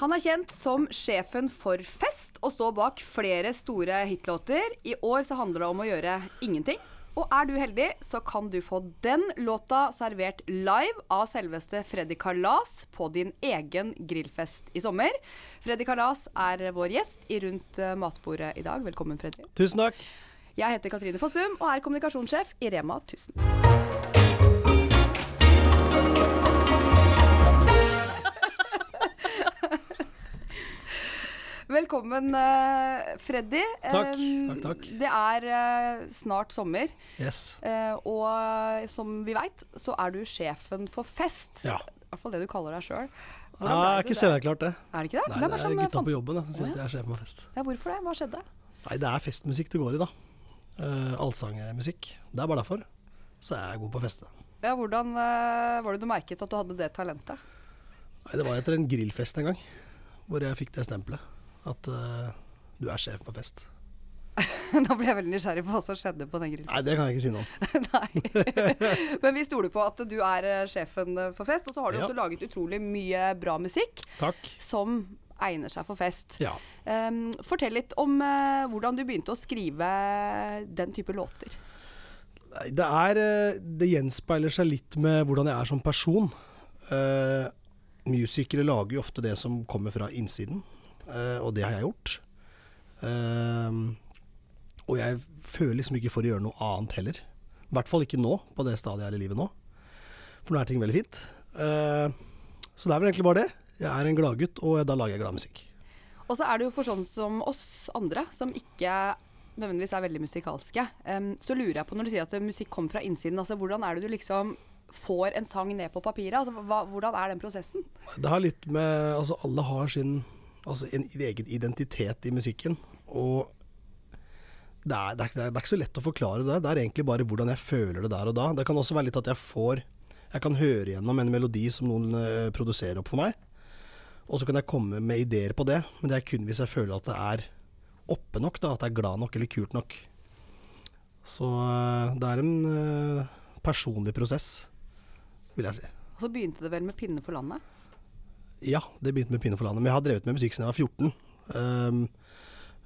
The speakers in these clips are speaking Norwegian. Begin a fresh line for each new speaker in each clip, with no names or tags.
Han er kjent som sjefen for fest og står bak flere store hitlåter. I år så handler det om å gjøre ingenting. Og er du heldig, så kan du få den låta servert live av selveste Freddy Kalas på din egen grillfest i sommer. Freddy Kalas er vår gjest i Rundt eh, matbordet i dag. Velkommen, Freddy.
Tusen takk.
Jeg heter Katrine Fossum og er kommunikasjonssjef i Rema 1000. Velkommen, eh, Freddy.
Takk,
Eh,
takk, takk.
Det er eh, snart sommer,
Yes.
eh, og som vi veit, så er du sjefen for fest.
Ja.
I hvert fall det du kaller deg sjøl.
Jeg har ikke selvklart det.
Er det ikke det?
Nei,
Hvem
det er
som
gutta
fant-
på jobben da, som sier
Å,
at jeg er sjef for fest.
Ja, hvorfor det? Hva skjedde?
Nei, det er festmusikk det går i, da. Eh, allsangmusikk. Det er bare derfor. Så jeg er god på å feste.
Ja, hvordan eh, var det du merket at du hadde det talentet?
Nei, det var etter en grillfest en gang, hvor jeg fikk det stempelet. At eh, du er sjef på fest.
Da ble jeg veldig nysgjerrig på hva som skjedde på den grillen.
Nei, det kan jeg ikke si noe om.
Nei. Men vi stoler på at du er eh, sjefen eh, for fest, og så har du
Ja.
også laget utrolig mye bra musikk
Takk.
som egner seg for fest.
Ja.
Em, fortell litt om eh, hvordan du begynte å skrive den type låter.
Nei, Det er eh, Det gjenspeiler seg litt med hvordan jeg er som person. Eh, musikere lager jo ofte det som kommer fra innsiden, eh, og det har jeg gjort. Eh, og jeg føler liksom ikke for å gjøre noe annet heller. I hvert fall ikke nå, på det stadiet jeg er i livet nå. For nå er ting veldig fint. Eh, så det er vel egentlig bare det. Jeg er en gladgutt, og da lager jeg gladmusikk.
Og så er det jo for sånn som oss andre, som ikke nødvendigvis er veldig musikalske, em, så lurer jeg på når du sier at eh, musikk kom fra innsiden, altså hvordan er det du liksom får en sang ned på papiret? Altså, hva, hvordan er den prosessen?
Det har litt med Altså, alle har sin altså, en, en egen identitet i musikken. Og det er, det, er, det er ikke så lett å forklare det. Det er egentlig bare hvordan jeg føler det der og da. Det kan også være litt at jeg får Jeg kan høre gjennom en melodi som noen eh, produserer opp for meg. Og så kan jeg komme med ideer på det, men det er kun hvis jeg føler at det er oppe nok, da. At det er glad nok eller kult nok. Så eh, det er en eh, personlig prosess, vil jeg si.
Og så begynte det vel med Pinne for landet.
Ja, det begynte med Pinne for landet. Men jeg har drevet med musikk siden jeg var 14. Ehm,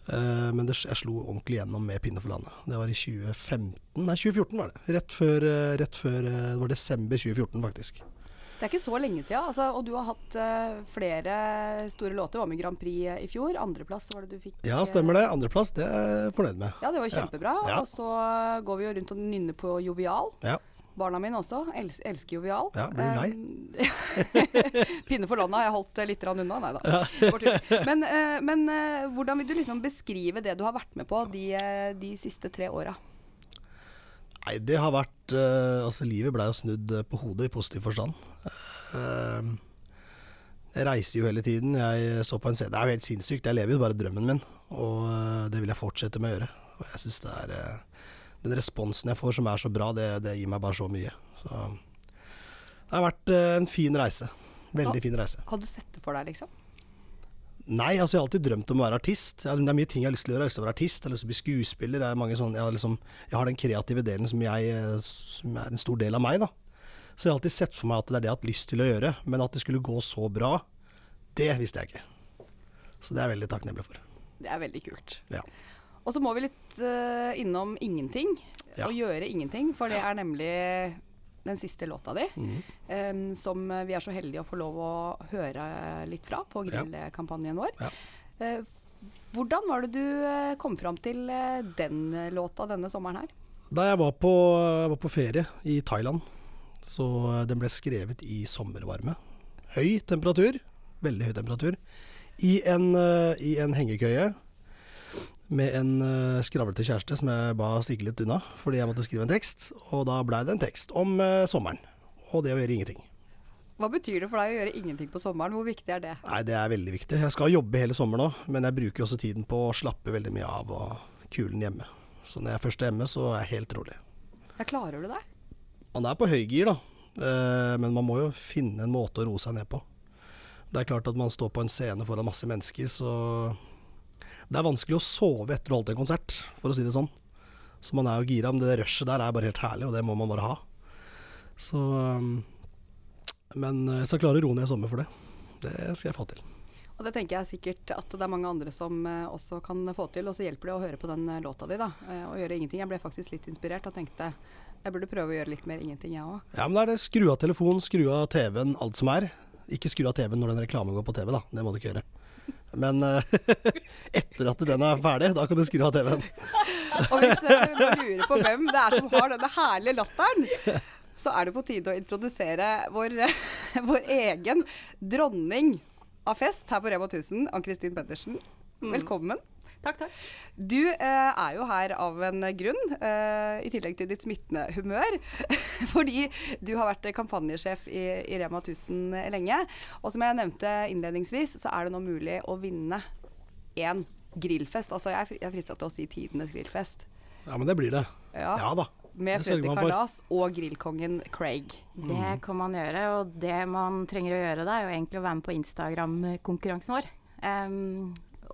eh, men det, jeg slo ordentlig gjennom med Pinne for landet. Det var i 2015, nei 2014 var det. Rett før, eh, rett før eh, Det var desember 2014, faktisk.
Det er ikke så lenge siden, altså, og du har hatt eh, flere store låter. Var med i Grand Prix eh, i fjor. Andreplass var det du fikk.
Ja, stemmer det. Andreplass, det er jeg fornøyd med.
Ja, det var jo kjempebra.
Ja.
Og så går vi jo rundt og nynner på Jovial.
Ja.
Barna mine også els elsker Jovial.
Ja, blir du lei?
Eh, Pinne for landet har jeg holdt eh, litt grann unna, nei da. Bare tull. Men, eh, men eh, hvordan vil du liksom beskrive det du har vært med på de, eh, de siste tre åra?
Nei, det har vært eh, Altså, livet blei jo snudd eh, på hodet i positiv forstand. Ehm, jeg reiser jo hele tiden. Jeg står på en scene. Det er jo helt sinnssykt. Jeg lever jo bare drømmen min, og eh, det vil jeg fortsette med å gjøre. Og jeg synes det er eh, Den responsen jeg får som er så bra, det, det gir meg bare så mye. Så det har vært eh, en fin reise.
Ja.
Veldig fin reise.
Har du sett det for deg, liksom?
Nei, altså jeg har alltid drømt om å være artist. Jeg har- Det er mye ting jeg har lyst til å gjøre. Jeg har lyst til å være artist, jeg har lyst til å bli skuespiller. Det er mange sånne, jeg, har liksom, jeg har den kreative delen som, jeg, eh, som er en stor del av meg, da. Så jeg har alltid sett for meg at det er det jeg har hatt lyst til å gjøre. Men at det skulle gå så bra, det visste jeg ikke. Så det er jeg veldig takknemlig for.
Det er veldig kult.
Ja.
Og så må vi litt eh, innom ingenting,
Ja.
og gjøre ingenting, for det er nemlig den siste låta di,
Mhm.
em, som vi er så heldige å få lov å høre litt fra på
Ja.
grillkampanjen vår.
Ja.
Eh, hvordan var det du eh, kom fram til eh, den låta denne sommeren her?
Da jeg var på, jeg var på ferie i Thailand, så eh, den ble skrevet i sommervarme. Høy temperatur, veldig høy temperatur, i en, eh, i en hengekøye med en eh, skravlete kjæreste som jeg ba stikke litt unna, fordi jeg måtte skrive en tekst. Og da blei det en tekst om eh, sommeren, og det å gjøre ingenting.
Hva betyr det for deg å gjøre ingenting på sommeren? Hvor viktig er det?
Nei, det er veldig viktig. Jeg skal jobbe hele sommeren òg, men jeg bruker jo også tiden på å slappe veldig mye av og kulen hjemme. Så når jeg først er hjemme, så er jeg helt rolig.
Ja, klarer du det?
Man er på høygir, da. Eh, men man må jo finne en måte å roe seg ned på. Det er klart at man står på en scene foran masse mennesker, så Det er vanskelig å sove etter å ha holdt en konsert, for å si det sånn. Så man er jo gira, men det der rushet der er bare helt herlig, og det må man bare ha. Så ehm, eh, um, Men jeg skal klare å roe ned i sommer for det. Det skal jeg få til.
Og det tenker jeg sikkert at det er mange andre som eh, også kan få til. Og så hjelper det å høre på den eh, låta di, da. eh, Og gjøre ingenting. Jeg ble faktisk litt inspirert og tenkte jeg burde prøve å gjøre litt mer ingenting, jeg òg.
Ja, men da er det skru av telefonen, skru av TV-en, alt som er. Ikke skru av TV-en når den reklamen går på TV, da. Det må du ikke gjøre. Men eh, etter at den er ferdig, da kan du skru av TV-en.
Og hvis eh, du lurer på hvem det er som har denne herlige latteren, så er det på tide å introdusere vår, vår egen dronning av fest her på Rema 1000, Ann-Kristin Pettersen. Velkommen.
Takk, takk.
Du eh, er jo her av en grunn, eh, i tillegg til ditt smittende humør. Fordi du har vært kampanjesjef i, i Rema 1000 lenge. Og som jeg nevnte innledningsvis, så er det nå mulig å vinne én grillfest. Altså, jeg er fri- jeg er frista til å si tidenes grillfest.
Ja, men det blir det.
Ja.
Ja da.
Med
Det sørger
Freddy
man for.
Kardas og grillkongen Craig.
Det kan man gjøre, og det man trenger å gjøre da, er jo egentlig å være med på Instagram-konkurransen vår. Em,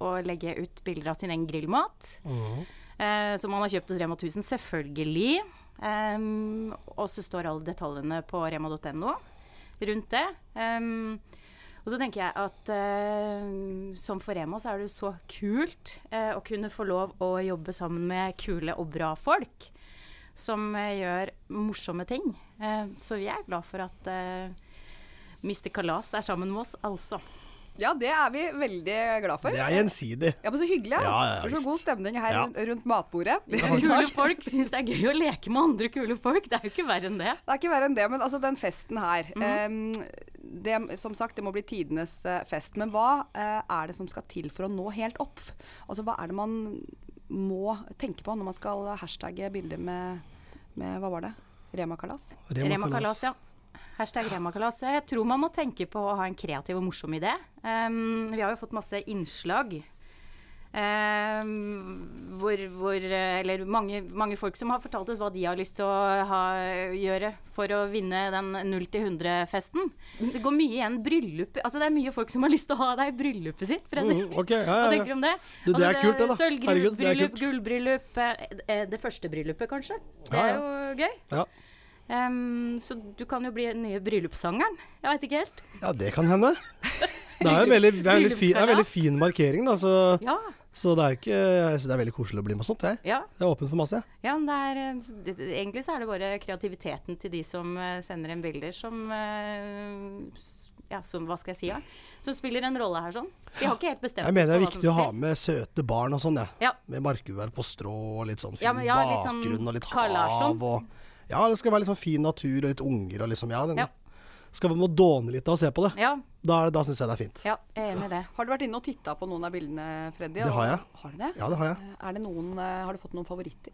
og legge ut bilder av sin egen grillmat,
Mhm.
eh, som man har kjøpt hos Rema 1000, selvfølgelig. Em, og så står alle detaljene på rema.no rundt det. Em, og så tenker jeg at eh, som for Rema så er det jo så kult eh, å kunne få lov å jobbe sammen med kule og bra folk som eh, gjør morsomme ting. Eh, så vi er glad for at eh, Mr. Kalas er sammen med oss, altså.
Ja, det er vi veldig glad for.
Det er gjensidig.
Ja, men Så hyggelig.
Ja, ja, ja,
det er
visst.
så god stemning her
Ja.
rundt- rundt matbordet.
Kule folk syns det er gøy å leke med andre kule folk. Det er jo ikke verre enn det.
Det er ikke verre enn det, men altså den festen her em, det, Som sagt, det må bli tidenes eh, fest. Men hva eh, er det som skal til for å nå helt opp? Altså hva er det man må tenke på når man skal hashtagge bilder med, med Hva var det? Remakalas?
Rema Kalas, ja. Hashtag Rema Kalas. Jeg tror man må tenke på å ha en kreativ og morsom idé. Um, vi har jo fått masse innslag. Um, hvor, hvor eh, Eller mange, mange folk som har fortalt oss hva de har lyst til å ha, gjøre for å vinne den 0 til 100-festen. Det går mye igjen bryllup Altså det er mye folk som har lyst til å ha deg i bryllupet sitt, Fredrik.
Mm, ok, ja, ja,
Hva
ja.
tenker du om det?
Du, det er kult det da. Herregud, det er
Sølvbryllup,
kult.
gullbryllup eh, eh, Det første bryllupet, kanskje. Det
Ja,
er
ja.
jo gøy.
Ja.
Ehm, så du kan jo bli den nye bryllupssangeren. Jeg veit ikke helt.
ja, det kan hende. Det er jo en veldig, det er en veldig, fin, det er en veldig fin markering, da. Så,
Ja,
så det er jo ikke Jeg syns det er veldig koselig å bli med og sånt, jeg.
ja,
Jeg er åpen for masse, jeg.
ja men det er, eh, så det, det, egentlig så er det bare kreativiteten til de som eh, sender inn bilder, som eh, s- Ja, som hva skal jeg si, ja? Som spiller en rolle her, sånn. Vi har ikke helt bestemt
Jeg mener det er
oss for hva som
viktig å ha
skal til.
med søte barn og sånn, jeg.
Ja.
Med markuvær på strå og litt sånn fin
Ja, men ja, litt sånn
bakgrunn og litt
Carl Larsson.
hav og Ja, det skal være litt sånn fin natur og litt unger og liksom Ja, den
Ja.
skal man må dåne litt av å se på det.
Ja,
Da, er det- da syns jeg det er fint.
ja, jeg er enig i det.
Har du vært inne og titta på noen av bildene, Freddy?
Det
Og-
har jeg.
Har du det?
Ja, det har jeg.
Eh, Er det noen, eh, har du fått noen favoritter?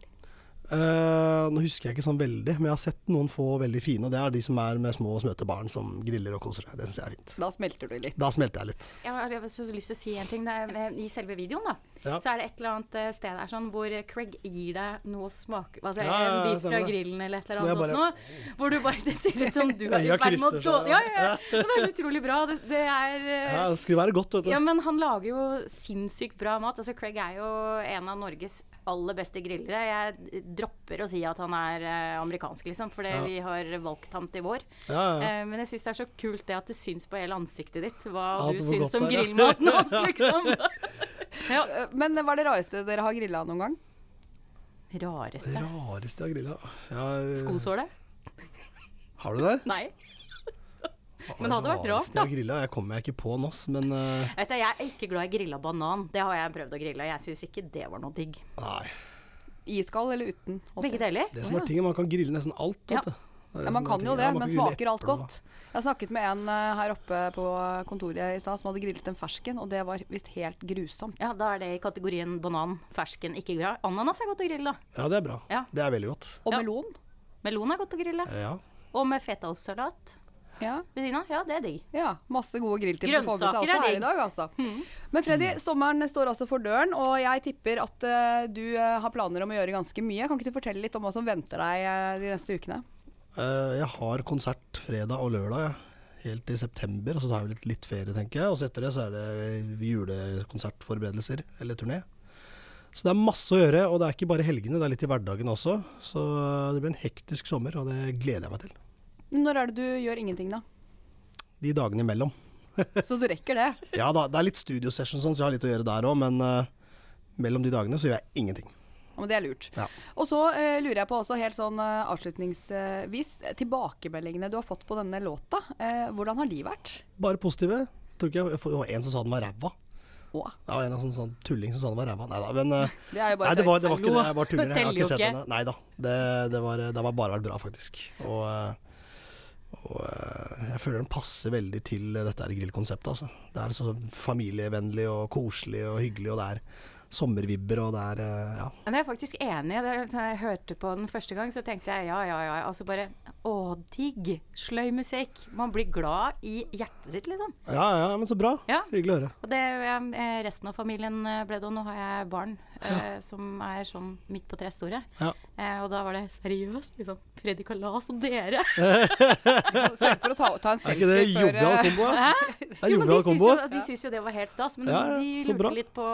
Eh, nå husker jeg ikke sånn veldig, men jeg har sett noen få veldig fine, og det er de som er med små og smøte barn som griller og koser seg. Det syns jeg er fint.
Da smelter du litt.
Da smelter jeg litt.
Jeg har jeg har så lyst til å si en ting. Det er, eh, I selve videoen da,
Ja.
så er det et eller annet eh, sted her sånn, hvor eh, Craig gir deg noe å smake altså,
Ja, ja, ja,
En bit fra
stemmer det.
grillen eller et eller
Hvor jeg
annet
bare-
sånt noe. Hvor du bare, det ser ut som du er i
Øya
ferd med å
krysser
då...
seg, ja.
Ja, ja, ja. Men det er så utrolig bra. Det, det er eh,
Ja, det skulle være godt, vet du.
ja, men han lager jo sinnssykt bra mat. Altså, Craig er jo en av Norges aller beste grillere. Jeg dropper å si at han er eh, amerikansk, liksom, fordi
Ja.
vi har valgt ham til vår.
Ja, ja.
Eh, men jeg syns det er så kult det at det syns på hele ansiktet ditt hva
Ja,
du
det var
syns
godt
om
der, ja.
grillmaten hans, liksom. ja.
Eh, Men hva er det rareste dere har grilla noen gang?
Det
Rareste.
rareste jeg har grilla Jeg-
Skosåle?
Har du det?
Nei. Men det hadde vært rart,
rareste Jeg, har grillet, jeg kommer jeg ikke på nå, ass, men eh,
Vet du, jeg er ikke glad i grilla banan. Det har jeg prøvd å grille. og Jeg syns ikke det var noe digg.
Nei.
Iskald eller uten?
Begge deler.
Det som er tingen, man kan grille nesten alt.
Ja.
vet du. Det er
Ja,
det
man
som er
kan jo
tingen.
det,
Ja,
men
man kan grille
smaker alt
epler og-
godt. Jeg snakket med en eh, her oppe på kontoret i stad som hadde grillet en fersken, og det var visst helt grusomt.
Ja, Da er det i kategorien banan, fersken, ikke grilla. Ananas er godt å grille, da.
Ja, det er bra.
Ja.
Det er veldig godt.
Og
Ja.
melon.
Melon er godt å grille.
Eh, Ja.
Og med fetaostsalat
Ja.
ved siden av. Ja, det er digg.
ja. Masse gode grilltips å få med seg
Grønnsaker
også
er Mhm.
her
digg.
i dag, altså. Men Freddy,
Mm.
sommeren står altså for døren, og jeg tipper at eh, du eh, har planer om å gjøre ganske mye. Kan ikke du fortelle litt om hva som venter deg eh, de neste ukene?
Eh, jeg har konsert fredag og lørdag, jeg. helt i september. Og så tar jeg litt, litt ferie, tenker jeg. Og så etter det så er det julekonsertforberedelser eller turné. Så det er masse å gjøre, og det er ikke bare helgene, det er litt i hverdagen også. Så eh, det blir en hektisk sommer, og det gleder jeg meg til.
Når er det du gjør ingenting, da?
De dagene imellom.
Så du rekker det.
Ja da, det er litt studiosession sånn, så jeg har litt å gjøre der òg, men eh, mellom de dagene så gjør jeg ingenting.
Ja, Men det er lurt.
Ja.
Og så eh, lurer jeg på også helt sånn eh, avslutningsvis, eh, tilbakemeldingene du har fått på denne låta, eh, hvordan har de vært?
Bare positive. Tror ikke jeg, jeg får- det var en som sa den var ræva.
Åh,
Det var en av sånne, sånn tulling som sa den var ræva. Nei da, men eh,
det er jo bare
Nei, det var,
tøys.
det var ikke det. Jeg bare tuller.
Det
Jeg har
teller jo
ikke sett
ikke.
henne. Nei da. Det, det, var, det har bare vært bra, faktisk. Og, eh, og eh, jeg føler den passer veldig til dette her grillkonseptet, altså. Det er så familievennlig og koselig og hyggelig, og det er sommervibber, og det er eh, Ja.
Men jeg er faktisk enig. Da jeg hørte på den første gang, så tenkte jeg ja, ja, ja. Altså bare Å, digg! Sløy musikk. Man blir glad i hjertet sitt, liksom.
Ja, ja, men så bra.
Ja.
Hyggelig å høre.
Og det, eh, resten av familien eh, ble det, og nå har jeg barn eh, som er sånn midt på tre store.
Ja.
Eh, og da var det seriøst, liksom. Freddy Kalas og dere!
Så Sørg for å ta, ta en
Er
selfie
ikke det
før, eh,
jovial kombo? da? Det er
Jo, men de
jovial
syntes
kombo.
jo, de syntes jo det var helt stas, men
Ja, ja,
de
så bra.
lurte litt på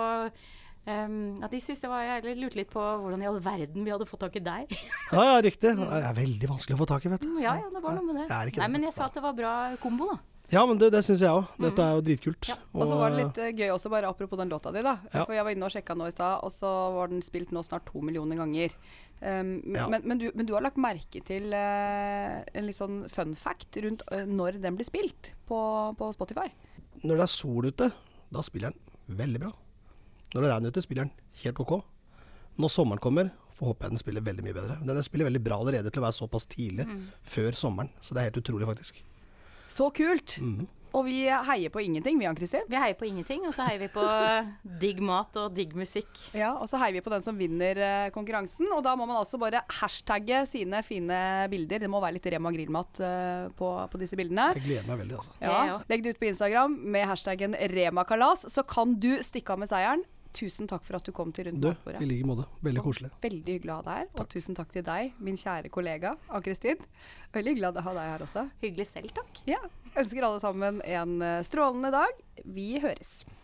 ehm, at de syntes det var, eller lurte litt på hvordan i all verden vi hadde fått tak i deg.
Ja, ja, riktig. Det er veldig vanskelig å få tak i, vet du.
ja, ja, det var noe med det.
Jeg er ikke
Nei,
det.
men jeg sa at det var bra kombo, da.
Ja, men det, det syns jeg òg. Dette
Mm.
er jo dritkult.
Og så var det litt eh, gøy også, bare apropos den låta di, da.
Ja.
For jeg var inne og sjekka nå i stad, og så var den spilt nå snart to millioner ganger. Um, m-
Ja.
men, men, du, men du har lagt merke til eh, en litt sånn fun fact rundt eh, når den blir spilt på, på Spotify.
Når det er sol ute, da spiller den veldig bra. Når det regner ute, spiller den helt ok. Når sommeren kommer, får håpe jeg den spiller veldig mye bedre. Den spiller veldig bra allerede til å være såpass tidlig
Mm.
før sommeren, så det er helt utrolig, faktisk.
Så kult!
Mhm.
Og vi heier på ingenting, vi, Ann-Kristin.
Vi heier på ingenting, og så heier vi på digg mat og digg musikk.
Ja, og så heier vi på den som vinner eh, konkurransen. Og da må man altså bare hashtagge sine fine bilder. Det må være litt Rema grillmat eh, på, på disse bildene.
Jeg gleder meg veldig, altså.
Jeg
Ja,
òg.
legg det ut på Instagram med hashtaggen remakalas, så kan du stikke av med seieren. Tusen takk for at du kom til Rundt
Du,
matbordet.
i like måte. Veldig koselig.
Veldig hyggelig å ha deg her, og tusen takk til deg, min kjære kollega Ann-Kristin. Veldig glad å ha deg her også.
Hyggelig selv, takk.
Ja, Ønsker alle sammen en eh, strålende dag. Vi høres.